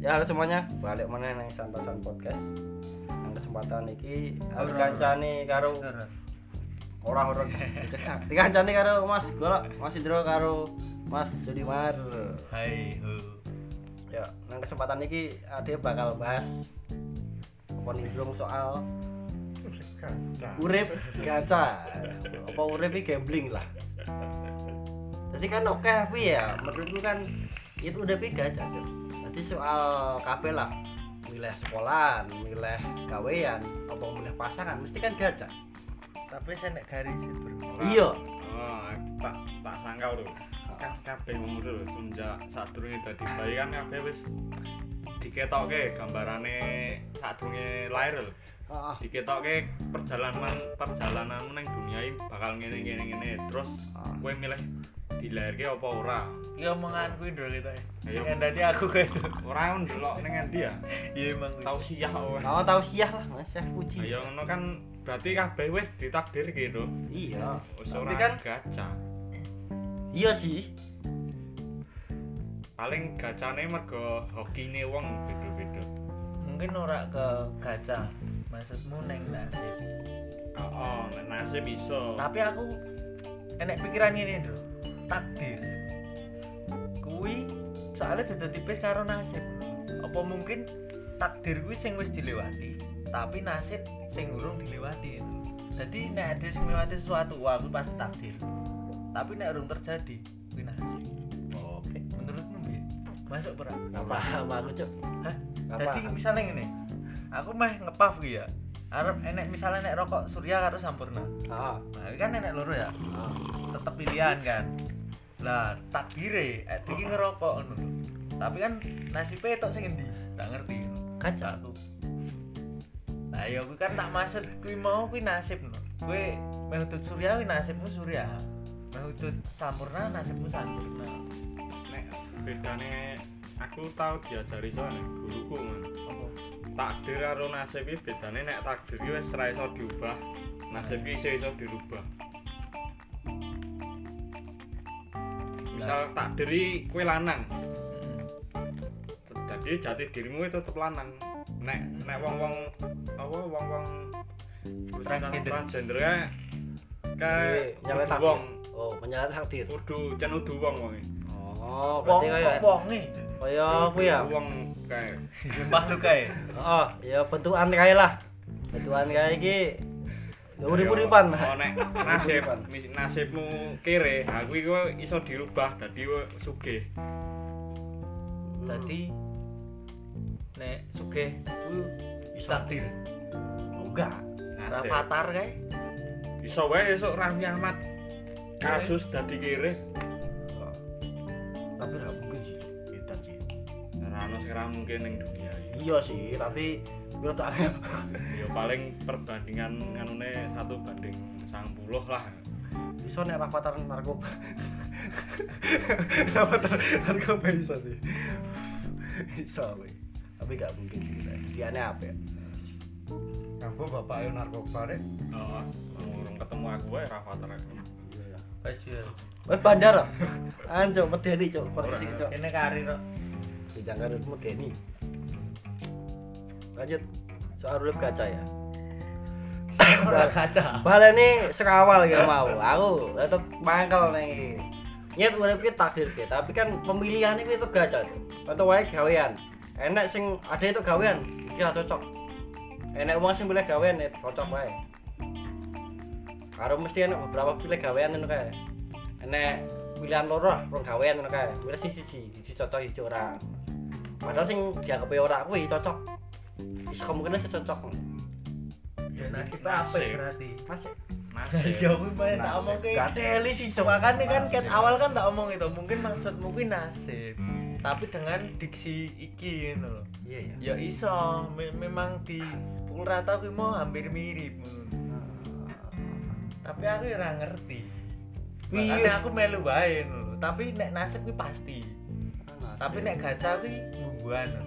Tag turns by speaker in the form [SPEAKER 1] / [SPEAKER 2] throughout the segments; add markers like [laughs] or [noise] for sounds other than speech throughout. [SPEAKER 1] ya halo semuanya balik mana nang santasan podcast nang kesempatan iki aku kancane karo orang-orang kesat dikancani karo Mas Golok Mas Indro karo Mas Sudimar
[SPEAKER 2] Hai ho.
[SPEAKER 1] ya nang kesempatan iki ade bakal bahas apa nimbrung soal urip gacha apa urip iki gambling lah jadi kan oke tapi ya menurutku kan itu udah pi gacha Cuk. jadi soal kabeh lah milih sekolahan milih gawean apa milih pasangan mesti kan gacha
[SPEAKER 3] Tapi saya nek garis bermula.
[SPEAKER 1] iya
[SPEAKER 2] Oh, tak tak sangka lho. Kan kabeh umur lho semenjak sadurunge dadi bayi kan kabeh wis diketokke gambarane sadurunge lahir lho.
[SPEAKER 1] ah
[SPEAKER 2] Diketokke perjalanan perjalananmu ning dunia ini bakal ngene ngene ngene terus
[SPEAKER 1] Ah.
[SPEAKER 2] kowe milih dilahirke apa ora?
[SPEAKER 3] Iya omongan kuwi ndol itu.
[SPEAKER 2] Iya.
[SPEAKER 3] Sing tadi aku kayak itu.
[SPEAKER 2] Ora on delok ning endi ya?
[SPEAKER 3] Iya emang. kuwi.
[SPEAKER 2] Tausiah kowe.
[SPEAKER 1] Nah, tahu siah lah Mas, Syah puji.
[SPEAKER 2] Ya ngono kan berarti kabeh wis ditakdirke lho.
[SPEAKER 1] Iya.
[SPEAKER 2] Wis
[SPEAKER 1] Tapi
[SPEAKER 2] ora
[SPEAKER 1] kan
[SPEAKER 2] gajah.
[SPEAKER 1] iya sih.
[SPEAKER 2] paling gacane mergo hokine wong beda-beda.
[SPEAKER 3] Mungkin ora ke gajah. Maksudmu neng nasib.
[SPEAKER 2] Oh, nek nasib iso.
[SPEAKER 3] Tapi aku enek pikiran ini dulu. Takdir. Kuwi soalnya beda tipis karo nasib. Apa mungkin takdir kuwi sing wis dilewati, tapi nasib sing urung dilewati itu. Jadi nek ada sing melewati sesuatu, wah kuwi pasti takdir. Tapi nek urung terjadi, kuwi nasib.
[SPEAKER 1] Oke.
[SPEAKER 3] menurutmu piye? Masuk pernah?
[SPEAKER 1] Enggak paham aku, Cuk.
[SPEAKER 3] Hah?
[SPEAKER 1] Nggak
[SPEAKER 3] Jadi
[SPEAKER 1] paham.
[SPEAKER 3] misalnya gini, aku meh ngepaf gitu ya. Arab enek misalnya enek rokok Surya karo Sampurna.
[SPEAKER 1] Heeh.
[SPEAKER 3] Nah, ini kan enek loro ya. Tetep pilihan kan. Lah, takdire eh iki ngerokok ngono. lho. Tapi kan nasibe tok sing endi? Nggak ngerti.
[SPEAKER 1] Kaca.
[SPEAKER 3] Aku. Nah, ya aku kan tak maksud kuwi mau kuwi nasib no. Kuwi menuntut Surya kuwi nasibmu Surya. Menuntut Sampurna nasibmu Sampurna.
[SPEAKER 2] Nek bedane aku tau diajari soalnya guruku man.
[SPEAKER 3] Apa?
[SPEAKER 2] Takdir karo nasib iki bedane nek takdir iki wis ra iso diubah, nasib iki iso iso dirubah. Misal takdir iki kowe lanang, jadi jati dirimu itu tetep lanang. Nek nek wong-wong apa wong-wong
[SPEAKER 3] Transgender.
[SPEAKER 2] transgender kae
[SPEAKER 1] Iya,
[SPEAKER 2] kae
[SPEAKER 1] nyala
[SPEAKER 2] kudu
[SPEAKER 1] takdir.
[SPEAKER 2] Eh, wong
[SPEAKER 1] Oh, penyalahan takdir.
[SPEAKER 2] kudu cen kudu wong wong
[SPEAKER 1] Oh,
[SPEAKER 3] Wong
[SPEAKER 1] berarti
[SPEAKER 3] kok
[SPEAKER 1] kaya
[SPEAKER 3] wonge. [laughs]
[SPEAKER 1] kaya kuwi ya.
[SPEAKER 2] wong kae
[SPEAKER 3] Ya makhluk ae.
[SPEAKER 1] Heeh, ya bentukan kaya lah. Bentukan kaya iki ya urip-uripan.
[SPEAKER 2] Oh, nek nasib
[SPEAKER 1] Urip-uripan.
[SPEAKER 2] mis- nasibmu kere aku iku iso dirubah dadi we- sugih
[SPEAKER 3] Dadi nek sugih ku
[SPEAKER 1] Iso.
[SPEAKER 3] takdir.
[SPEAKER 1] enggak.
[SPEAKER 3] Ora
[SPEAKER 2] nasib
[SPEAKER 3] fatar kae.
[SPEAKER 2] iso wae esuk Raffi Ahmad
[SPEAKER 1] Iya.
[SPEAKER 2] kasus dadi kere
[SPEAKER 1] Tapi enggak mungkin sih. Edan sih.
[SPEAKER 2] ora ono sing ra mungkin ning dunia iki
[SPEAKER 1] Iya sih, tapi kira tak
[SPEAKER 2] ya paling perbandingan anune satu banding 90 lah
[SPEAKER 1] bisa nek rapatan narkoba. rapatan narkoba bisa sih. Bisa weh. Tapi enggak mungkin sih. Dia aneh apa ya?
[SPEAKER 4] Kamu bapak ayo narkoba rek.
[SPEAKER 2] oh urung ketemu aku wae Rafa terang
[SPEAKER 3] Bajul.
[SPEAKER 1] Wes bandar. Anjo medeni cok, podcast iki cok.
[SPEAKER 3] Kene karir kok.
[SPEAKER 1] Bijang karut medeni. Lanjut soal urip kaca ya.
[SPEAKER 3] ora kaca.
[SPEAKER 1] Balene sekawal ya mau. Aku tetep mangkel nang iki. Nyet urip ki takdir ki, tapi kan pemilihan iki tetep gacha. Untuk wae gawean. Enak sing ada itu gawean, iki ra cocok. Enak wong sing boleh gawean ya cocok wae. Karo mesti enak beberapa pilih gawean ngono kae. Enak pilihan loro lah, rong gawean ngono kae. Wis siji siji, siji cocok siji ora. Padahal sing dianggep ora kuwi cocok. Wis kemungkinan sih cocok.
[SPEAKER 3] Ya nasib apa
[SPEAKER 2] Nasib.
[SPEAKER 3] berarti?
[SPEAKER 1] Masih
[SPEAKER 3] Ya
[SPEAKER 2] nasib
[SPEAKER 3] kuwi main tak
[SPEAKER 4] Nasib.
[SPEAKER 3] omongke.
[SPEAKER 1] gak teli sih cok.
[SPEAKER 3] Makane kan ket
[SPEAKER 4] Nasib.
[SPEAKER 3] awal kan tak omong itu. Mungkin maksudmu kuwi nasib. Tapi dengan diksi iki ngono lho.
[SPEAKER 1] Iya iya.
[SPEAKER 3] Ya iso me- memang di pukul rata kuwi mau hampir mirip ngono. tapi aku ya ora ngerti
[SPEAKER 1] Wih,
[SPEAKER 3] makanya
[SPEAKER 1] yes.
[SPEAKER 3] aku melu wae lho tapi nek nasib kuwi pasti tapi nek gacha kuwi bumbuan lho.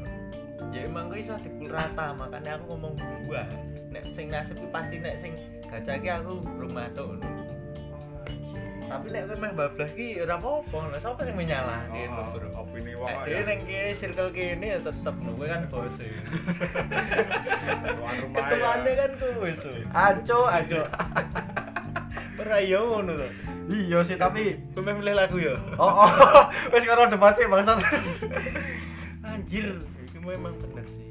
[SPEAKER 3] ya emang kuwi iso dipul rata makanya aku ngomong bumbuan nek sing nasib kuwi pasti nek sing gacha kuwi aku rumatuk lho tapi nek kowe meh bablas ki ora apa-apa lho sapa sing menyalahke
[SPEAKER 2] Oh,
[SPEAKER 3] to bro
[SPEAKER 2] opini wong
[SPEAKER 3] Nek
[SPEAKER 2] kok
[SPEAKER 3] dhewe
[SPEAKER 2] ya.
[SPEAKER 3] neng ki circle kene ya tetep lho kowe kan bos e.
[SPEAKER 2] Tuan rumah ya.
[SPEAKER 3] Ketuane kan kowe tuh.
[SPEAKER 1] Aco, aco.
[SPEAKER 3] Ora yo ngono to.
[SPEAKER 1] Iya sih tapi
[SPEAKER 3] Kowe meh milih lagu ya? yo.
[SPEAKER 1] Oh, [laughs] oh. wis karo debat sih bangsat. [laughs]
[SPEAKER 3] Anjir, iki memang bener sih.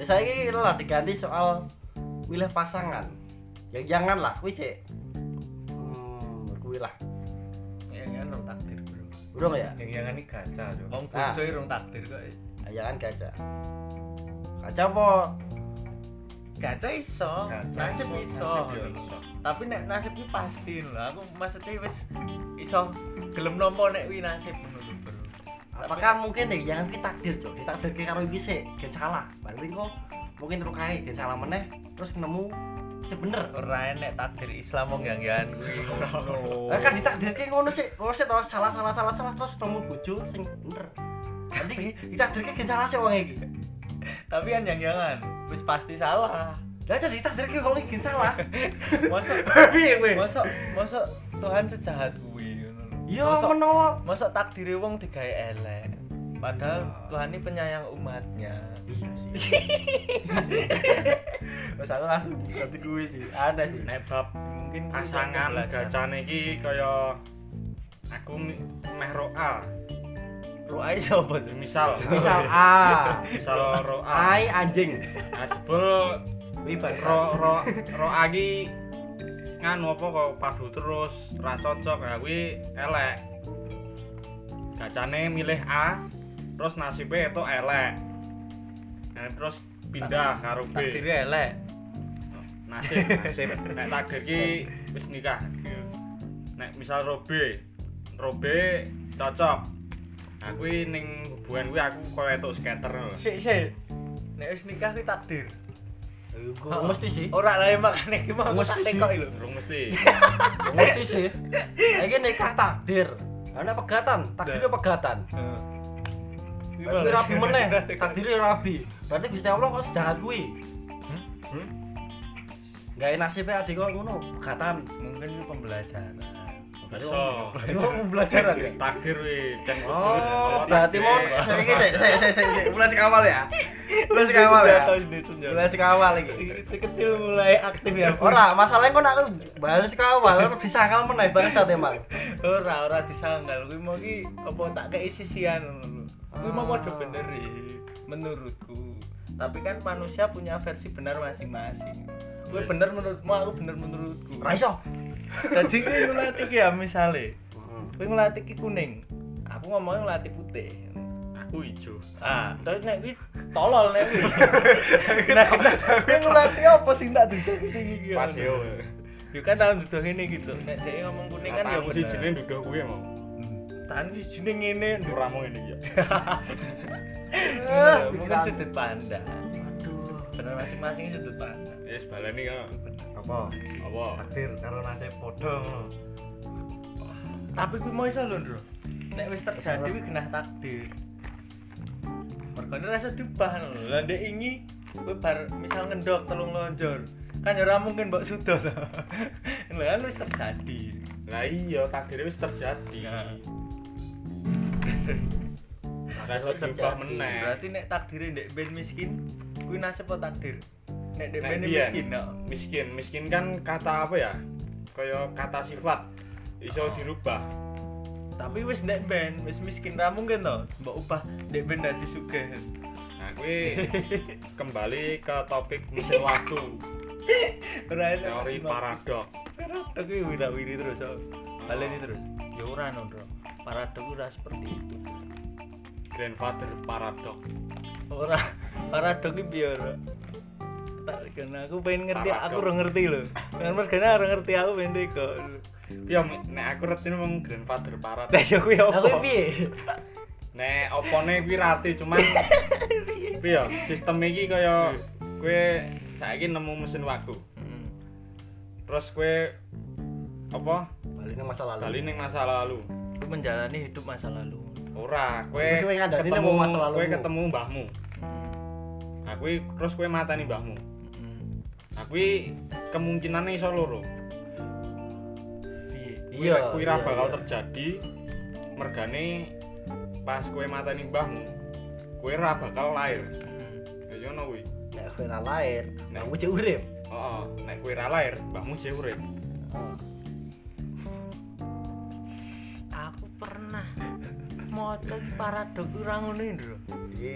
[SPEAKER 1] Ya saiki lah diganti soal milih pasangan. Ya jangan lah, kuwi cek. Hmm, kuwi lah.
[SPEAKER 3] Ya kan rung takdir, Bro. Nah.
[SPEAKER 1] Urung ya?
[SPEAKER 4] yang yang ini gacha tuh
[SPEAKER 2] Oh,
[SPEAKER 3] Wong
[SPEAKER 1] Ah.
[SPEAKER 3] bojo rung takdir kok.
[SPEAKER 1] Ya jangan kaca. Kaca apa?
[SPEAKER 3] Gaca iso, iya, nasib iso. Tapi nek nasib ki pasti lho. Aku maksudnya wis iso gelem nampa nek kuwi nasib ngono lho, Bro.
[SPEAKER 1] Apakah mungkin ya jangan kita takdir, Cok. Ditakdirke karo iki sik, gen salah. Baru engko mungkin rukai gen salah meneh terus nemu sebener.
[SPEAKER 3] ora enek takdir Islam wong gangguan kuwi ngono.
[SPEAKER 1] Lah Eh, kan ditakdirke ngono sik, ngono sik toh salah salah salah salah terus nemu bojo sing bener. Nanti ditakdirke gen salah sik wong iki.
[SPEAKER 3] Tapi kan yang-yangan wis pasti salah.
[SPEAKER 1] Lah jadi ditakdirke kok iki gen salah.
[SPEAKER 3] [laughs] Mosok
[SPEAKER 1] Piye kowe?
[SPEAKER 3] mosok mosok Tuhan sejahat kuwi
[SPEAKER 1] Ya
[SPEAKER 3] Iya, ngono lho. Mosok-
[SPEAKER 1] menawa
[SPEAKER 3] mosok takdire wong digawe elek. Padahal Tuhan ini penyayang umatnya.
[SPEAKER 1] Iya sih. Mas aku langsung ganti gue sih. Ada sih.
[SPEAKER 2] Nek bab
[SPEAKER 3] Mungkin kuwi
[SPEAKER 2] pasangan
[SPEAKER 3] pembelajaran.
[SPEAKER 2] gacane iki kaya aku mi- meh roa.
[SPEAKER 3] Ruai sapa tuh?
[SPEAKER 2] Misal
[SPEAKER 1] [laughs] Misal A,
[SPEAKER 2] misal roa.
[SPEAKER 1] ai anjing.
[SPEAKER 2] Nah, jebul
[SPEAKER 1] Wi
[SPEAKER 2] ro ro ro agi nganu apa kok padu terus ra cocok nah kuwi elek gacane milih A terus nasibnya itu elek nah, terus pindah karo B
[SPEAKER 3] Takdire elek.
[SPEAKER 2] nasib nasib nek takdir ki wis nikah nek misal Robe Robe cocok aku ning hubungan kuwi aku koyo etuk skater lho
[SPEAKER 3] Sik sik. Nek wis nikah kuwi takdir.
[SPEAKER 1] Mesti sih.
[SPEAKER 3] Ora lah makane iki mau aku
[SPEAKER 1] Mesti
[SPEAKER 3] tak
[SPEAKER 1] sih.
[SPEAKER 3] tekok iki lho.
[SPEAKER 2] durung mesti
[SPEAKER 1] Mesti sih. Iki nikah takdir. Ana pegatan, takdirnya pegatan.
[SPEAKER 3] Heeh.
[SPEAKER 1] Tapi rabi
[SPEAKER 3] [laughs]
[SPEAKER 1] [laughs] meneh, takdirnya rabi. Berarti Gusti Allah kok sejahat kuwi.
[SPEAKER 4] Hmm?
[SPEAKER 1] Gak nasibnya adik kok ngono, pegatan.
[SPEAKER 3] mungkin itu pembelajaran
[SPEAKER 2] iso
[SPEAKER 1] Ayo pembelajaran ya.
[SPEAKER 2] takdir wih Cek betul.
[SPEAKER 1] Oh,
[SPEAKER 2] Kalau
[SPEAKER 1] berarti
[SPEAKER 2] takdir-
[SPEAKER 1] mau iki sik sik sik sik sik. mulai sekawal ya. Mulai sekawal ya. Mulai sekawal iki.
[SPEAKER 3] kecil mulai aktif ya aku.
[SPEAKER 1] Ora, masalahnya kok nak aku balas kawal, ora bisa kal meneh bangsat ya, emang.
[SPEAKER 3] ora ora disangkal kuwi mau ki apa tak kei sisian ngono lho kuwi mau
[SPEAKER 1] Ah.
[SPEAKER 3] padha bener eh, menurutku tapi kan manusia punya versi benar masing-masing
[SPEAKER 2] Wes.
[SPEAKER 3] kuwi bener menurutmu aku bener menurutku
[SPEAKER 1] Ora iso.
[SPEAKER 3] jadi kuwi ngelatih ki ya misale
[SPEAKER 2] Hmm.
[SPEAKER 3] kuwi ngelatih ki kuning aku ngomongnya ngelatih putih
[SPEAKER 2] aku ijo
[SPEAKER 3] ah terus nek kuwi tolol nek
[SPEAKER 2] [laughs]
[SPEAKER 3] kuwi nah kuwi ngelatih apa sih tak duduk ki sing iki
[SPEAKER 2] pas yo
[SPEAKER 3] Yo kan tahun duduh ngene iki, Cuk. Nek dhek ngomong kuning kan yo
[SPEAKER 2] si
[SPEAKER 3] bener.
[SPEAKER 2] jeneng duduh kuwi mau
[SPEAKER 3] Tahan sijine ngene. Nduk.
[SPEAKER 2] ora mau ini ya
[SPEAKER 3] Ya,
[SPEAKER 4] Iya,
[SPEAKER 1] Eh,
[SPEAKER 3] Mungkin
[SPEAKER 1] pikiran.
[SPEAKER 3] sudut pandang.
[SPEAKER 1] Aduh.
[SPEAKER 3] Bener masing-masing sudut pandang.
[SPEAKER 2] wis baleni kan
[SPEAKER 4] apa
[SPEAKER 2] apa
[SPEAKER 4] takdir karo nasib podo
[SPEAKER 3] Tapi kuwi mau iso lho, Ndro. Nek wis terjadi kuwi genah takdir. Mergone rasa diubah lho. Lah ndek ingi kuwi bar misal ngendok telung lonjor. Kan ya ora mungkin mbok sudo to. [laughs] Lah kan wis terjadi.
[SPEAKER 2] lah iya takdir wis terjadi
[SPEAKER 3] Nah.
[SPEAKER 2] Lah iso diubah
[SPEAKER 1] Terjadi.
[SPEAKER 2] meneh
[SPEAKER 3] Berarti nek takdire ndek ben miskin, kuwi nasib apa takdir? Nek ndek
[SPEAKER 2] Nek
[SPEAKER 3] ben
[SPEAKER 2] biyen.
[SPEAKER 3] miskin no.
[SPEAKER 2] miskin miskin kan kata apa ya kaya kata sifat iso
[SPEAKER 3] Oh.
[SPEAKER 2] dirubah
[SPEAKER 3] tapi wis ndek ben wis miskin ra mungkin to mbok ubah ndek ben dadi sugih [laughs]
[SPEAKER 2] nah kuwi kembali ke topik mesin waktu
[SPEAKER 3] ora enak
[SPEAKER 2] teori
[SPEAKER 3] sih, Mak.
[SPEAKER 2] paradok
[SPEAKER 3] paradok iki wira-wiri terus so. baleni terus ya ora no bro paradok ora seperti itu
[SPEAKER 2] grandfather paradok
[SPEAKER 3] ora paradok iki piye ora tak kena aku pengen ngerti aku
[SPEAKER 2] Paradok.
[SPEAKER 3] ora ngerti lho kan mergane ora ngerti aku pengen teko
[SPEAKER 2] ya nek aku retin mong grandfather paradok
[SPEAKER 3] lah ya kuwi
[SPEAKER 1] Lah kuwi
[SPEAKER 3] opo
[SPEAKER 1] piye?
[SPEAKER 2] Nek opone kuwi rati
[SPEAKER 1] [laughs]
[SPEAKER 2] cuman piye ya, sistem iki kaya kowe saiki nemu mesin waktu.
[SPEAKER 3] Hmm.
[SPEAKER 2] Terus kowe apa?
[SPEAKER 1] Bali nang masa lalu.
[SPEAKER 2] Bali ning masa lalu.
[SPEAKER 3] aku menjalani hidup masa lalu
[SPEAKER 2] Ora, kowe
[SPEAKER 1] Kowe ngandani nemu
[SPEAKER 2] ketemu
[SPEAKER 1] masa lalumu.
[SPEAKER 2] kowe ketemu mbahmu.
[SPEAKER 3] Hmm.
[SPEAKER 2] Nah, kuwi terus kowe matani mbahmu.
[SPEAKER 3] Hmm.
[SPEAKER 2] Nah, kuwi kemungkinane iso loro.
[SPEAKER 3] piye
[SPEAKER 2] kuwi
[SPEAKER 1] Iya,
[SPEAKER 2] kuwi ra
[SPEAKER 1] iya,
[SPEAKER 2] bakal
[SPEAKER 1] iya.
[SPEAKER 2] terjadi mergane pas kowe mateni mbahmu kowe ra bakal lair
[SPEAKER 3] Hmm.
[SPEAKER 2] ya ngono kuwi
[SPEAKER 1] nek kowe ora lahir
[SPEAKER 2] Nek-
[SPEAKER 1] kamu cek urip
[SPEAKER 2] heeh nek kowe ra lair mbahmu sih urip
[SPEAKER 3] aku pernah moco iki paradoks ora ngono iki, Ndro.
[SPEAKER 1] iya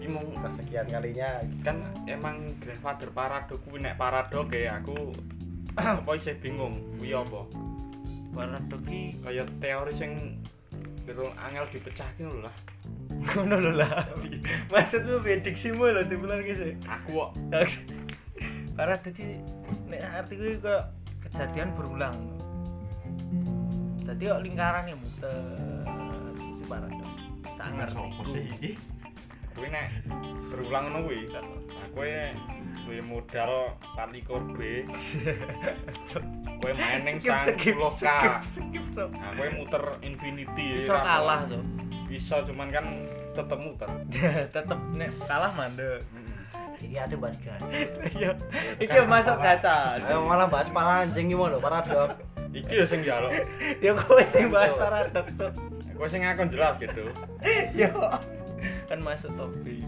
[SPEAKER 2] iki mung
[SPEAKER 1] kesekian kalinya
[SPEAKER 2] kan emang grandfather paradok kuwi nek paradok ya aku [clears throat] apa isih bingung kuwi apa
[SPEAKER 3] Paradoks iki
[SPEAKER 2] kaya teori sing gitu angel dipecahkin lho lah
[SPEAKER 3] ngono lho lah. Maksudmu prediksimu lho timbulan iki sih.
[SPEAKER 2] aku kok
[SPEAKER 3] Paradoks iki nek arti kuwi koyo kejadian berulang. Dadi kok lingkarane muter si paradoks. Tak
[SPEAKER 4] Bener
[SPEAKER 3] ngerti.
[SPEAKER 4] sopo sih iki?
[SPEAKER 2] kuwi nek berulang ngono kuwi nah kowe duwe modal
[SPEAKER 3] [laughs]
[SPEAKER 2] 24B kowe main ning
[SPEAKER 3] Skip, skip,
[SPEAKER 2] 10k
[SPEAKER 3] skip, skip, so.
[SPEAKER 2] nah kowe muter infinity
[SPEAKER 3] Iso
[SPEAKER 2] ya, ra-
[SPEAKER 3] kalah tuh.
[SPEAKER 2] bisa cuman kan tetep muter
[SPEAKER 3] Tetep nek kalah mandek.
[SPEAKER 1] iki ada bahas gaji
[SPEAKER 3] Iya. Iki masuk kaca.
[SPEAKER 1] ayo malah bahas para anjing iki mau lho paradok
[SPEAKER 2] iki ya sing njaluk
[SPEAKER 3] Ya kowe sing bahas paradoks, Cuk.
[SPEAKER 2] kowe sing ngakon jelas gitu
[SPEAKER 3] [laughs] Ya. Kan masuk topik.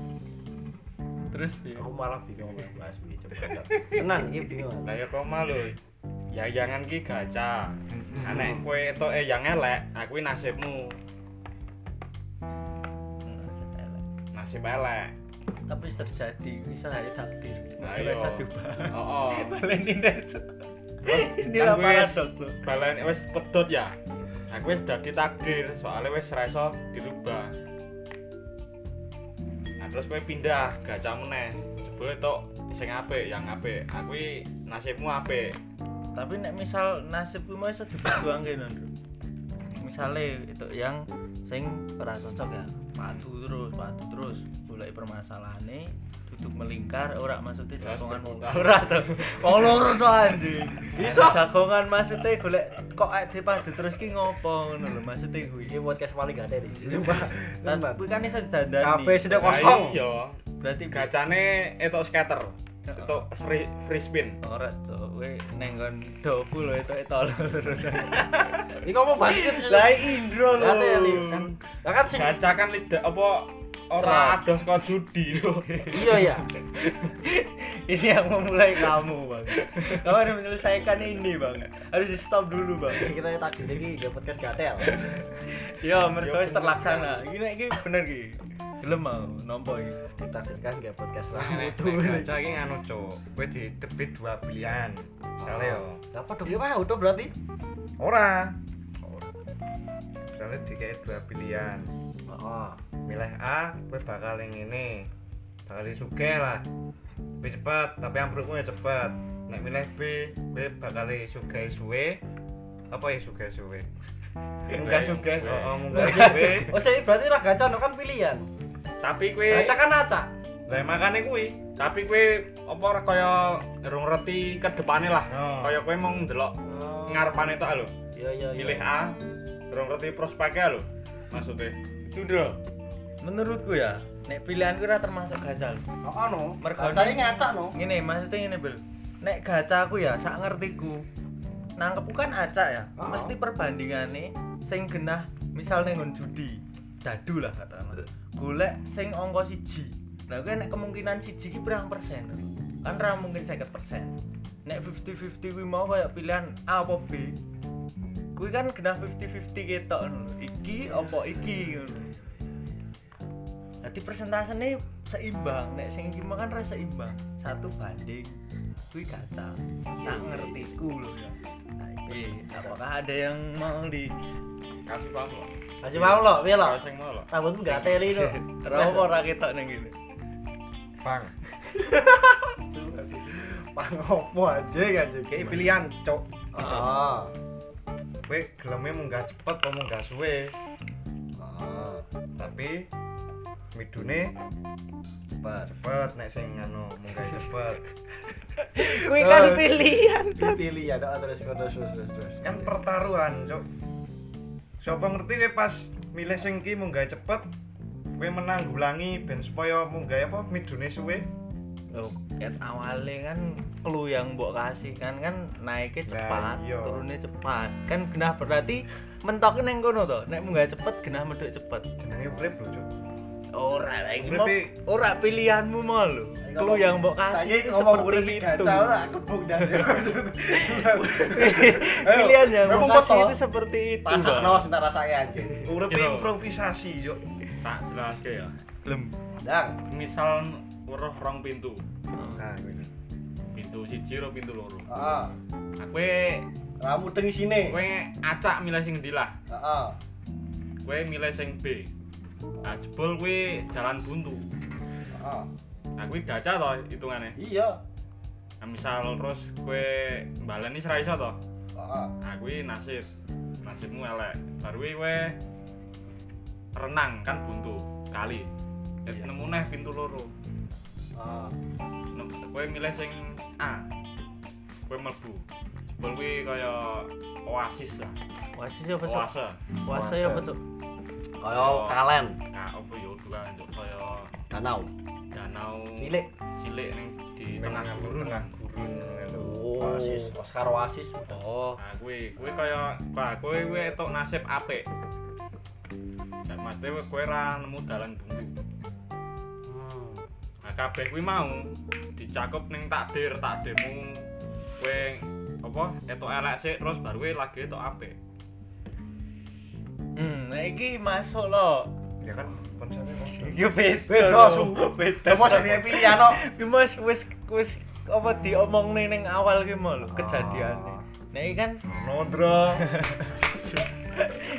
[SPEAKER 3] Terus piye?
[SPEAKER 1] aku malah bingung mau bahas iki coba tenan iki bingung
[SPEAKER 2] Lah ya koma lho. Yayangan ki gacha.
[SPEAKER 3] Mm-hmm.
[SPEAKER 2] Anek kowe etoke yang elek, aku nasibmu.
[SPEAKER 3] [laughs]
[SPEAKER 2] Nasib elek.
[SPEAKER 3] Tapi wis terjadi bisa hari takdir.
[SPEAKER 2] Nah,
[SPEAKER 3] Ora
[SPEAKER 2] iya.
[SPEAKER 3] usah dibahas.
[SPEAKER 2] Heeh.
[SPEAKER 3] Balen [laughs] ini, Cuk. [laughs] Inilah
[SPEAKER 2] Aku wis-
[SPEAKER 3] paradoks, Cuk.
[SPEAKER 2] Balen wis pedot ya. Aku wis dadi takdir, soalnya wis ra iso dirubah. Nah, terus kowe pindah gacha meneh. Jebule tok sing apik, yang apik. Aku i nasibmu apik.
[SPEAKER 3] Tapi nek misal nasibku mau iso diperjuangke no, Ndro. Misale itu yang sing ora cocok ya, patu terus, patu terus, mulai permasalahane duduk melingkar ora maksudnya
[SPEAKER 2] Jelas
[SPEAKER 3] jagongan wong
[SPEAKER 2] berputar.
[SPEAKER 3] ora to. Wong loro to anjing.
[SPEAKER 1] Bisa.
[SPEAKER 3] jagongan maksudnya golek kok ade padu terus ki ngopo ngono lho maksudnya kuwi.
[SPEAKER 1] iki podcast paling gak ada iki sumpah tenan
[SPEAKER 3] Tapi kan iso dandani.
[SPEAKER 1] Kabeh
[SPEAKER 3] Ya,
[SPEAKER 1] sedek
[SPEAKER 2] Lah,
[SPEAKER 1] kosong.
[SPEAKER 2] Iya.
[SPEAKER 3] Berarti
[SPEAKER 2] Gacane etok scatter. Etok free, free spin.
[SPEAKER 3] ora cok, kowe nenggon dobu lho itu itu
[SPEAKER 4] [laughs]
[SPEAKER 3] lho terus.
[SPEAKER 1] iki ngomong bahas iki terus-
[SPEAKER 3] Lah Indro lho.
[SPEAKER 1] Lah, iya, iya.
[SPEAKER 2] Kan
[SPEAKER 1] lah kan sing
[SPEAKER 2] gacha kan lidah apa ora adoh saka judi
[SPEAKER 4] [laughs]
[SPEAKER 2] lho.
[SPEAKER 1] iya ya
[SPEAKER 3] [laughs] ini yang memulai kamu bang kamu harus menyelesaikan ini bang harus di stop dulu bang
[SPEAKER 1] kita takdir iki ya podcast gatel
[SPEAKER 3] ya mereka
[SPEAKER 2] Ya,
[SPEAKER 3] wis terlaksana gini ini bener gini belum mau nompo ini
[SPEAKER 1] ditakdirkan gak podcast lah
[SPEAKER 4] Nek
[SPEAKER 1] itu
[SPEAKER 4] gaca iki nganu, Cuk. Kowe didebit dua pilihan.
[SPEAKER 1] Oh.
[SPEAKER 4] Misale yo.
[SPEAKER 1] apa dong ya mau tuh berarti
[SPEAKER 4] Ora. Misale dikei dua pilihan.
[SPEAKER 1] oh
[SPEAKER 4] Milih A, kowe bakal yang ini. Bakal sugih lah. Tapi cepet, tapi ambrukmu ya cepet. Nek milih B, kowe bakal sugih suwe. Apa ya sugih suwe? Munggah sugih,
[SPEAKER 2] Suwe.
[SPEAKER 4] heeh, munggah suwe.
[SPEAKER 1] berarti oh saya berarti ra gaca no kan pilihan
[SPEAKER 2] Tapi kowe
[SPEAKER 1] gaca kan acak
[SPEAKER 4] Lah makane kuwi.
[SPEAKER 2] tapi kowe apa ora kaya rung reti ke depane lah.
[SPEAKER 4] Oh.
[SPEAKER 2] Kaya kowe mau ndelok ngarepane tok lho.
[SPEAKER 1] Iya iya iya.
[SPEAKER 2] Milih A, rung reti prospeknya lho. Maksudnya. Itu lho.
[SPEAKER 3] menurutku ya nek pilihanku ora termasuk gacal
[SPEAKER 1] Oh ano,
[SPEAKER 3] Mergo-
[SPEAKER 1] mergane ngacak no.
[SPEAKER 3] ini maksudnya ini bel nek gaca aku ya sak ngertiku nangkepku kan acak ya
[SPEAKER 1] Oh.
[SPEAKER 3] mesti perbandingane sing genah misal nenggon judi dadu lah katakanlah golek sing angka siji nah gue nek kemungkinan siji ki pirang persen kan ra mungkin 50 persen nek 50-50 kuwi mau kayak pilihan A apa B kuwi kan genah 50-50 ketok ngono. iki apa iki ngono Nanti persentasenya seimbang, nek sing iki mah kan ra seimbang. Satu banding kuwi kaca. Tak ngertiku lho ya. Tapi apakah ada yang mau di
[SPEAKER 2] Kasih paham lho.
[SPEAKER 1] Masih mau lo, piye lo?
[SPEAKER 2] Kaya sing mau lho.
[SPEAKER 1] Rambutmu gak teli
[SPEAKER 3] [laughs]
[SPEAKER 1] lo.
[SPEAKER 3] terus ora ketok nang ngene?
[SPEAKER 4] Bang,
[SPEAKER 1] Pangopo aja kan
[SPEAKER 4] kei pilihan, Cuk.
[SPEAKER 1] Oh.
[SPEAKER 4] Kowe geleme munggah cepet apa munggah suwe?
[SPEAKER 1] Oh,
[SPEAKER 4] Tapi midune
[SPEAKER 1] cepat.
[SPEAKER 4] cepet nek sing anu munggah cepet.
[SPEAKER 3] Kuwi
[SPEAKER 1] kan
[SPEAKER 3] pilihan.
[SPEAKER 1] Dipilih ya, doa terus terus terus terus, terus.
[SPEAKER 4] kan pertaruhan cok siapa ngerti kowe pas milih sing ki munggah cepet kowe menanggulangi ben supaya munggah apa midune suwe
[SPEAKER 3] Lho, ket awale kan clue yang mbok kasih kan kan naiknya
[SPEAKER 4] Nah,
[SPEAKER 3] cepat,
[SPEAKER 4] iya.
[SPEAKER 3] turunnya cepat. Kan genah berarti mentoknya neng kono to. Nek munggah cepet genah medhok cepet.
[SPEAKER 4] jenenge urip lho cuk
[SPEAKER 3] Ora lagi mau
[SPEAKER 4] Berarti-
[SPEAKER 3] ora pilihanmu mau lho. Clue yang mbok kasih itu seperti itu. [laughs]
[SPEAKER 1] kebuk dan
[SPEAKER 3] Pilihan yang
[SPEAKER 1] Memang
[SPEAKER 3] mbok kasih
[SPEAKER 1] betul.
[SPEAKER 3] itu seperti itu.
[SPEAKER 1] Pasak
[SPEAKER 3] Bang.
[SPEAKER 1] no sentar rasanya aja.
[SPEAKER 4] urip
[SPEAKER 2] Iya.
[SPEAKER 4] improvisasi cuk
[SPEAKER 2] tak jelaske ya
[SPEAKER 3] Lem.
[SPEAKER 1] Dang,
[SPEAKER 2] misal weruh rong pintu
[SPEAKER 4] nah ngene
[SPEAKER 2] pintu siji ro pintu loro
[SPEAKER 1] heeh.
[SPEAKER 2] aku
[SPEAKER 1] Ramu teng isine.
[SPEAKER 2] kowe acak milih sing ndi lah
[SPEAKER 1] Heeh.
[SPEAKER 2] kowe milih sing B nah jebol kowe jalan buntu
[SPEAKER 1] Heeh.
[SPEAKER 2] nah kowe gacha to hitungane
[SPEAKER 1] Iya.
[SPEAKER 2] nah, misal terus kowe mbaleni ra iso to
[SPEAKER 1] Heeh.
[SPEAKER 2] nah kuwi nasib nasibmu elek baru kuwi kowe renang kan buntu kali Eh,
[SPEAKER 1] Iya.
[SPEAKER 2] nemu neh pintu loro
[SPEAKER 1] Heeh.
[SPEAKER 2] Nem- kowe milih sing A kowe mlebu jebol kuwi kaya oasis lah
[SPEAKER 3] Wasih
[SPEAKER 2] ya,
[SPEAKER 3] apa cok?
[SPEAKER 2] oase
[SPEAKER 3] Puasa ya apa cok?
[SPEAKER 1] Kaya kalen
[SPEAKER 2] nah opo yo kan Cuk? kaya
[SPEAKER 1] danau.
[SPEAKER 2] danau
[SPEAKER 1] Cilik.
[SPEAKER 2] cilik ning di
[SPEAKER 4] tengah
[SPEAKER 2] tengah Oh.
[SPEAKER 4] gurun tengah gurun ngene lho
[SPEAKER 1] Oh. Oasis, Oscar Oasis.
[SPEAKER 3] Oh,
[SPEAKER 2] Nah, kuwi kuwi kaya bah kowe kuwi etok nasib apik. Dan Mas Dewe kowe ra nemu dalan buntu.
[SPEAKER 3] Hmm.
[SPEAKER 2] Nah, kabeh kuwi mau dicakup ning takdir, takdirmu kowe apa etok elek sik terus baru kowe lagi etok apik.
[SPEAKER 3] hmm, nah iki masuk lo.
[SPEAKER 4] ya kan konsepnya mau
[SPEAKER 3] Yo beda.
[SPEAKER 1] Beda,
[SPEAKER 3] lho.
[SPEAKER 1] Su.
[SPEAKER 3] Beda.
[SPEAKER 1] Demo jenenge pilihan kok.
[SPEAKER 3] Ki mas wis wis apa diomongne ning awal ki mau
[SPEAKER 4] Ah.
[SPEAKER 3] lho kejadiane. Nah iki kan
[SPEAKER 4] Nodra
[SPEAKER 3] [laughs]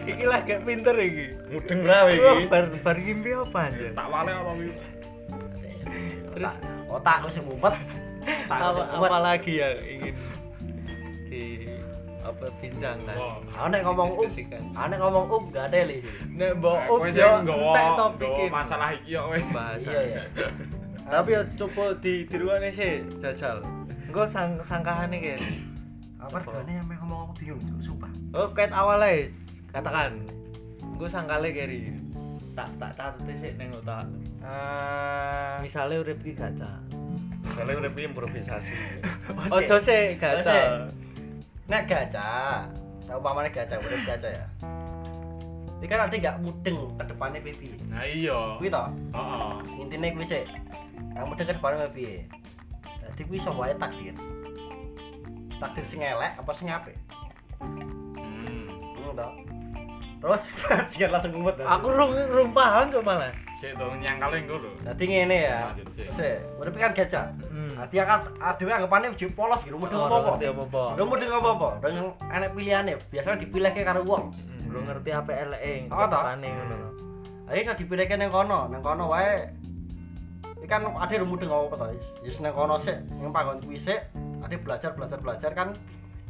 [SPEAKER 3] iki lah gak pinter iki.
[SPEAKER 4] mudeng rawe
[SPEAKER 3] Wah,
[SPEAKER 4] iki
[SPEAKER 3] bar bar ngimpi apa anjir?
[SPEAKER 2] Tak wale apa kuwi?
[SPEAKER 3] Terus
[SPEAKER 1] Otak wis mumet. Otak
[SPEAKER 3] apa,
[SPEAKER 1] wis mumet.
[SPEAKER 3] apa lagi yang ingin di apa bincangkan?
[SPEAKER 2] Wah.
[SPEAKER 1] Aku Ah, nek ngomong up,
[SPEAKER 3] Diskusikan.
[SPEAKER 1] aku nek ngomong up gak ada lih.
[SPEAKER 3] Nek mbok
[SPEAKER 2] Nah,
[SPEAKER 3] up
[SPEAKER 2] kowe sing
[SPEAKER 3] yo
[SPEAKER 2] nggawa
[SPEAKER 3] entek
[SPEAKER 2] nggawa
[SPEAKER 3] topik
[SPEAKER 2] masalah iki kok kowe.
[SPEAKER 3] bahasa.
[SPEAKER 1] Iya ya.
[SPEAKER 3] Tapi ya coba di di ruangnya sih jajal. Engko sang sangkahane kayak
[SPEAKER 1] Apa regane yang ngomong aku bingung, Cuk, sumpah.
[SPEAKER 3] Oh, kait awal ae. Katakan. Engko sangkale keri. Tak tak catet sik ning otak.
[SPEAKER 1] Eh,
[SPEAKER 3] Misale urip iki gacha.
[SPEAKER 4] soalnya urip improvisasi
[SPEAKER 3] Ojo sik gacha.
[SPEAKER 1] Ojo nek gaca saya umpamanya gaca udah gaca ya ini kan nanti gak mudeng ke depannya pipi
[SPEAKER 2] Nah, iya.
[SPEAKER 1] kuwi toh
[SPEAKER 2] Heeh.
[SPEAKER 1] intinya kuwi sih gak mudeng ke depannya pipi jadi kuwi semuanya takdir takdir sing elek apa sing apik
[SPEAKER 2] Hmm.
[SPEAKER 1] ngono toh terus [laughs] jangan langsung ngumet dah.
[SPEAKER 3] Aku rung rung paham kok malah.
[SPEAKER 2] Sik to nyangkale engko lho.
[SPEAKER 1] jadi ngene ya
[SPEAKER 2] Lanjut, sih.
[SPEAKER 1] sih udah kan gaca
[SPEAKER 3] Heeh.
[SPEAKER 4] Hmm.
[SPEAKER 1] Nanti Hmm. akan ada anggapannya ujuk polos
[SPEAKER 4] Oh,
[SPEAKER 1] gitu, mudeng apa-apa.
[SPEAKER 3] Ngerti Oh, apa-apa.
[SPEAKER 1] Udah mudeng apa-apa, dan enak pilihannya, biasanya dipilihke karo wong.
[SPEAKER 3] Hmm. Belum ngerti apa eleke
[SPEAKER 1] Apa toh?
[SPEAKER 3] tepane ngono.
[SPEAKER 1] Ayo iso dipilihke nang kono, nang kono wae. Iki kan ade rumudeng apa to, Yus nang kono sik, nang panggon kuwi sik, ade belajar belajar belajar kan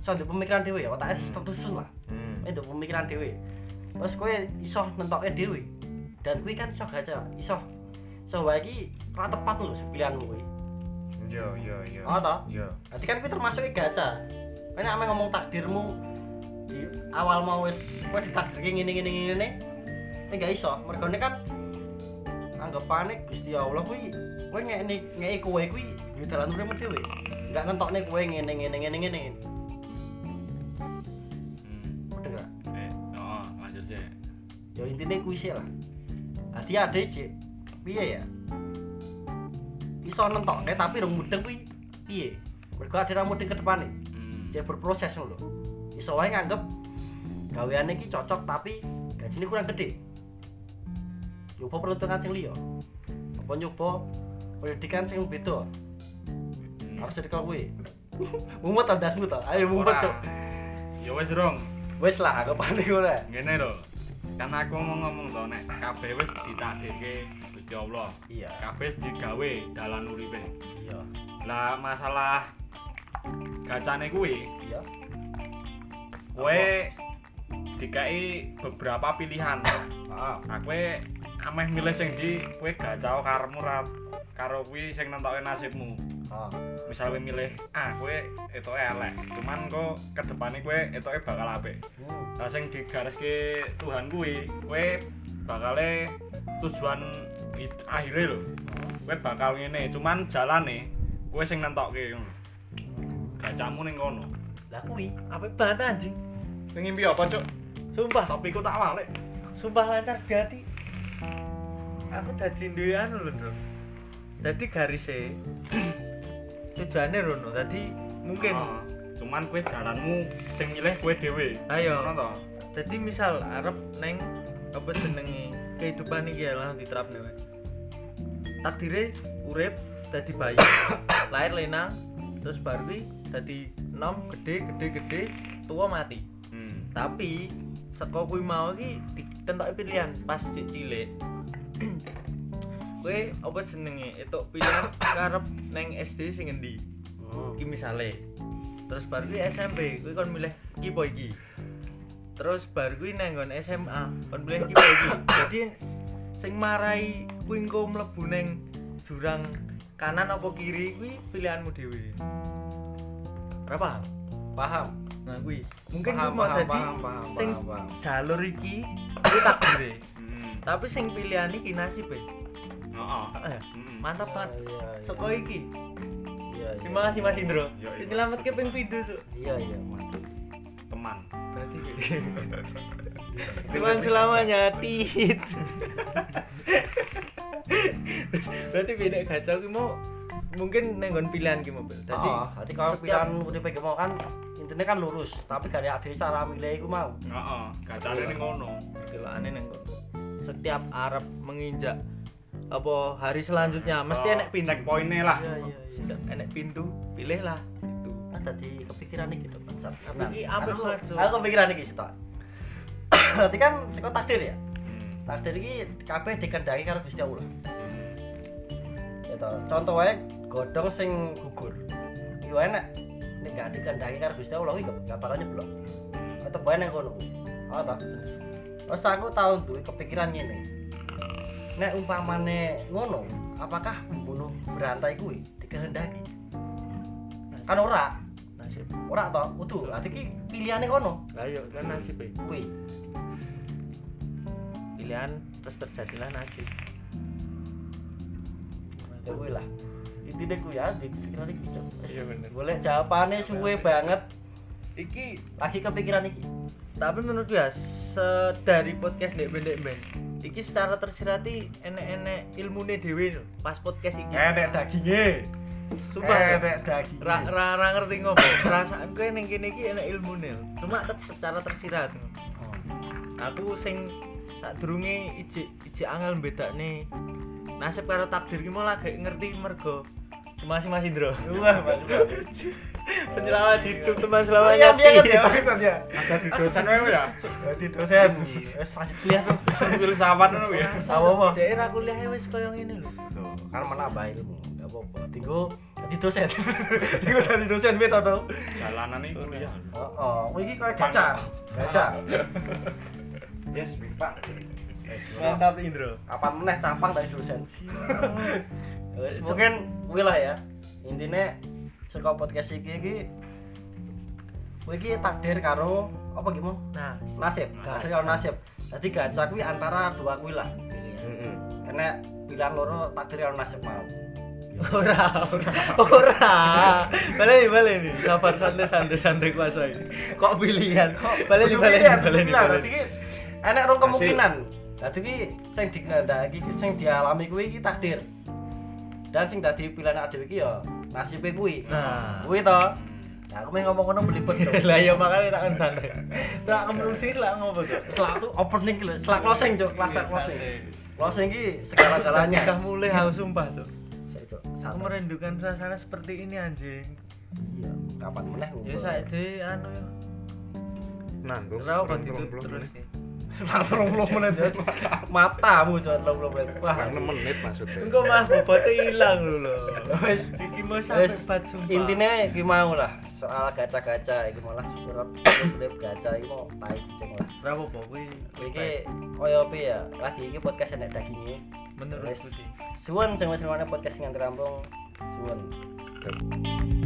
[SPEAKER 1] iso ndek pemikiran dhewe ya, otake
[SPEAKER 3] Hmm.
[SPEAKER 1] tersusun lah.
[SPEAKER 4] hmm.
[SPEAKER 1] Ndek pemikiran dhewe. Terus kowe iso nentokke dhewe. Dan kuwi kan iso gaca, iso iso wae iki ora tepat lho pilihanmu kuwi.
[SPEAKER 4] iya iya iya
[SPEAKER 1] Oh toh?
[SPEAKER 4] iya
[SPEAKER 1] Berarti kan kuwi termasuk gaca. Kowe nek ame ngomong takdirmu di awal mau wis kowe ditakdirke ngene ngene ngene ngene. Ini gak iso, mergone kan anggapane Gusti Allah kuwi kowe ngekni ngeki kowe kuwi duwe dalan uripmu dhewe. Enggak ngentokne kowe ngene ngene ngene ngene.
[SPEAKER 2] Hmm.
[SPEAKER 1] Udah gak?
[SPEAKER 2] Eh, heeh, lanjut sik.
[SPEAKER 1] Ya intine kuwi sih lah. Adi ade sih. Piye ya? Iso nentokne tapi rung mudeng kuwi piye? Mergo ade ra mudeng ke depane.
[SPEAKER 2] Hmm.
[SPEAKER 1] cek berproses ngono lho. Iso wae nganggep gaweane iki cocok tapi gajine kurang gede. Nyoba peruntungan sing liya. Apa nyoba pendidikan sing beda.
[SPEAKER 2] Hmm.
[SPEAKER 1] Harus jadi kowe. [laughs] Mumet ta dasmu ta? Ayo mumet
[SPEAKER 2] Ora.
[SPEAKER 1] cok.
[SPEAKER 2] Ya wis, Rong.
[SPEAKER 1] Wis lah aku panik ora.
[SPEAKER 2] ngene lho kan aku mau ngomong to nek kabeh wis ditakdirke Gusti Allah
[SPEAKER 1] Iya.
[SPEAKER 2] kabeh wis digawe dalan uripe
[SPEAKER 1] Iya.
[SPEAKER 2] lah masalah gacane kuwi
[SPEAKER 1] Iya.
[SPEAKER 2] kowe dikai beberapa pilihan
[SPEAKER 1] Heeh.
[SPEAKER 2] aku ameh milih sing di kowe gacau karepmu ra karo kuwi sing nentoke nasibmu
[SPEAKER 1] Heeh.
[SPEAKER 2] misalnya milih ah kowe etoke elek cuman kok kedepane kowe etoke bakal apik Nah, sing digariske Tuhan kuwi, kowe bakale tujuan hid- akhire lho. Kowe bakal ngene, cuman jalane kowe sing nentokke ngono. gacamu ning kono.
[SPEAKER 3] Lah kuwi apik banget anjing.
[SPEAKER 4] Sing ngimpi apa, Cuk?
[SPEAKER 3] Sumpah,
[SPEAKER 2] Topiku tak walik.
[SPEAKER 3] sumpah lancar ganti. Aku dadi duwe anu lho, Bro. Dadi garise [clears throat] tujuane rono. Dadi mungkin
[SPEAKER 2] Ah, Cuman kowe jalanmu sing milih kowe dhewe.
[SPEAKER 4] Oh.
[SPEAKER 3] ayo
[SPEAKER 2] Ngono to.
[SPEAKER 3] Jadi misal Arab neng apa jenenge kehidupan iki ya langsung diterapne wae. Takdire urip dadi bayi, [coughs] lahir lenang, terus baru kuwi dadi nom gede gede gede tua mati.
[SPEAKER 2] Hmm.
[SPEAKER 3] Tapi saka kuwi mau iki ditentoki pilihan pas sik cilik. Kowe apa jenenge itu pilihan karep neng SD sing endi?
[SPEAKER 1] Oh.
[SPEAKER 3] iki misale terus baru kuwi SMP kuwi kon milih iki apa iki terus baru kuwi nang nggon SMA kon milih iki apa iki jadi sing marai kuwi engko mlebu nang jurang kanan apa kiri kuwi pilihanmu dhewe ora paham
[SPEAKER 1] paham
[SPEAKER 3] nah kuwi mungkin
[SPEAKER 1] paham,
[SPEAKER 3] kuwi mau
[SPEAKER 1] paham,
[SPEAKER 3] dadi
[SPEAKER 1] paham, paham,
[SPEAKER 3] sing
[SPEAKER 1] paham, paham.
[SPEAKER 3] jalur iki kuwi takdire
[SPEAKER 2] Hmm.
[SPEAKER 3] tapi sing pilihan iki nasib e.
[SPEAKER 2] Heeh.
[SPEAKER 3] Eh,
[SPEAKER 2] Hmm.
[SPEAKER 3] mantap banget
[SPEAKER 1] Iya, iya,
[SPEAKER 3] soko iki
[SPEAKER 1] iya, iya.
[SPEAKER 3] terima kasih Mas Indro
[SPEAKER 2] Yo, iya.
[SPEAKER 3] nyelametke ping pindho Su.
[SPEAKER 1] iya iya mantap
[SPEAKER 2] Teman.
[SPEAKER 3] berarti [laughs] Cuman selamanya tit. berarti beda kacau ki mau mungkin nenggon pilihan ki mobil. Tadi
[SPEAKER 1] jadi jadi kalau
[SPEAKER 3] setiap-
[SPEAKER 1] pilihan udah pakai mau kan intinya kan lurus tapi gak ada ade cara milih iku mau
[SPEAKER 2] Heeh. Gacane ning kono.
[SPEAKER 3] delokane neng setiap Arab menginjak apa hari selanjutnya mesti enek pintu.
[SPEAKER 2] Checkpoint-e lah.
[SPEAKER 1] iya iya iya
[SPEAKER 3] Setiap Enek pintu, pilih lah itu.
[SPEAKER 1] kan jadi kepikiran iki gitu bangsat
[SPEAKER 3] Iki apik
[SPEAKER 1] Aku-
[SPEAKER 3] banget, Cuk.
[SPEAKER 1] aku kepikiran iki sih [coughs] berarti kan seko takdir ya
[SPEAKER 2] Hmm.
[SPEAKER 1] takdir iki kabeh dikendaki karo Gusti Allah
[SPEAKER 2] Hmm.
[SPEAKER 1] gitu contoh wae godhong sing gugur yo enak nek gak dikendaki karo Gusti Allah iki gak bakal nyeblok atau bae nang kono kuwi oh ta terus aku tau duwe kepikiran ngene nek umpamane ngono apakah pembunuh berantai kuwi dikehendaki kan ora
[SPEAKER 3] Nasib.
[SPEAKER 1] ora to kudu ati ki pilihane kono
[SPEAKER 3] Lah yo kan nasib ya.
[SPEAKER 1] kuwi
[SPEAKER 3] Pilihan terus terjadilah nasib.
[SPEAKER 1] ya kuwi lah intine kuwi ya dipikirane iki Cok. Wes,
[SPEAKER 3] Iya, bener.
[SPEAKER 1] boleh jawabane suwe banget
[SPEAKER 3] Iki
[SPEAKER 1] lagi kepikiran iki
[SPEAKER 3] tapi menurut ya sedari podcast dek bendek ben iki secara tersirati enek-enek ilmune dhewe lho pas podcast iki
[SPEAKER 2] Enek daginge.
[SPEAKER 3] sumpah
[SPEAKER 1] enek Eh, daging
[SPEAKER 3] ra ra, ra ngerti ngomong perasaan gue ning kene iki enek ilmune lho. cuma tet- secara tersirat Oh. aku sing sadurunge ijik ijik angel bedakne nasib karo takdir ki malah gak ngerti mergo masing-masing Indro [laughs]
[SPEAKER 1] wah
[SPEAKER 2] [laughs]
[SPEAKER 1] bagus
[SPEAKER 3] penyelamat hidup teman
[SPEAKER 1] Oh
[SPEAKER 3] selamat
[SPEAKER 1] iya, dia kan
[SPEAKER 3] mati.
[SPEAKER 1] ya, bagus aja.
[SPEAKER 2] Ada di dosen wae ya.
[SPEAKER 1] Jadi dosen. Wes lanjut kuliah tuh.
[SPEAKER 2] Dosen filsafat ngono ya.
[SPEAKER 1] Sawo apa?
[SPEAKER 3] Daerah kuliahnya wis koyo ngene lho
[SPEAKER 1] Kan menambah ilmu, enggak apa-apa. Tinggu jadi dosen. [laughs] Tinggu jadi dosen bet to.
[SPEAKER 2] Jalanan iki kuliah.
[SPEAKER 1] Heeh, kuwi iki koyo gajah. Gajah.
[SPEAKER 4] Yes, Pak. Yes, Pak.
[SPEAKER 3] mantap Indro
[SPEAKER 1] Kapan meneh capang dari dosen. Wes mungkin kuwi lah ya. Intinya saka podcast iki iki kuwi iki takdir karo apa gimana?
[SPEAKER 3] Nah,
[SPEAKER 1] Nasib. Takdir karo nasib. Jadi gajah kuwi antara dua kuwi lah.
[SPEAKER 3] ya.
[SPEAKER 4] Heeh.
[SPEAKER 1] Karena pilihan loro takdir karo nasib mau.
[SPEAKER 3] ora, ora, ora. Balik nih, balik nih. Sabar santai, santai, santai kuasa ini. Kok pilihan? Kok balik nih, balik nih, balik nih, balik
[SPEAKER 1] Dadi
[SPEAKER 3] nih.
[SPEAKER 1] ki enek rong kemungkinan.
[SPEAKER 4] kemungkinan.
[SPEAKER 1] Dadi ki sing dikendaki ki sing dialami kuwi iki takdir. Dan sing dadi pilihan awake dhewe iki ya nasibe kuwi.
[SPEAKER 3] Nah.
[SPEAKER 1] kuwi to.
[SPEAKER 2] Hmm.
[SPEAKER 1] Nah, aku main ngomong ngono belibet to.
[SPEAKER 3] [laughs] Lah ya makanya tak kan santai. Selak kemulsi, selak ngomong kok.
[SPEAKER 1] Selak tuh opening ki lho, selak closing cok, kelas
[SPEAKER 3] Iya,
[SPEAKER 1] closing.
[SPEAKER 3] santai.
[SPEAKER 1] Closing ki segala-galanya.
[SPEAKER 3] Ketika mulai haus sumpah tuh.
[SPEAKER 1] Sik, Cok,
[SPEAKER 3] Aku
[SPEAKER 1] santai.
[SPEAKER 3] merindukan suasana seperti ini anjing.
[SPEAKER 1] Iya, kapan meneh
[SPEAKER 3] Ya saiki anu ya.
[SPEAKER 4] Nanggung.
[SPEAKER 3] Ora kok
[SPEAKER 4] Orang
[SPEAKER 3] gitu
[SPEAKER 4] belum- belum
[SPEAKER 3] terus.
[SPEAKER 4] menit.
[SPEAKER 3] nih.
[SPEAKER 1] langsung 20 menit.
[SPEAKER 3] [laughs]
[SPEAKER 1] Cok. Matamu cok 20 menit. Wah,
[SPEAKER 4] Orang 6 menit maksudnya.
[SPEAKER 3] Engko mah bobote ilang lho lho.
[SPEAKER 1] Wes.
[SPEAKER 3] Iki mau
[SPEAKER 1] Wes,
[SPEAKER 3] sampe bat sumpah.
[SPEAKER 1] intinya iki mau lah soal gaca-gaca iki malah surat urip gaca iki mau tai kucing lah
[SPEAKER 3] ora apa-apa kuwi.
[SPEAKER 1] iki koyo apa ya lagi iki podcast enak dagingnya
[SPEAKER 3] menurutku sih.
[SPEAKER 1] suwun sing wis ngrungokne podcast nganti rampung suwun
[SPEAKER 4] Oke.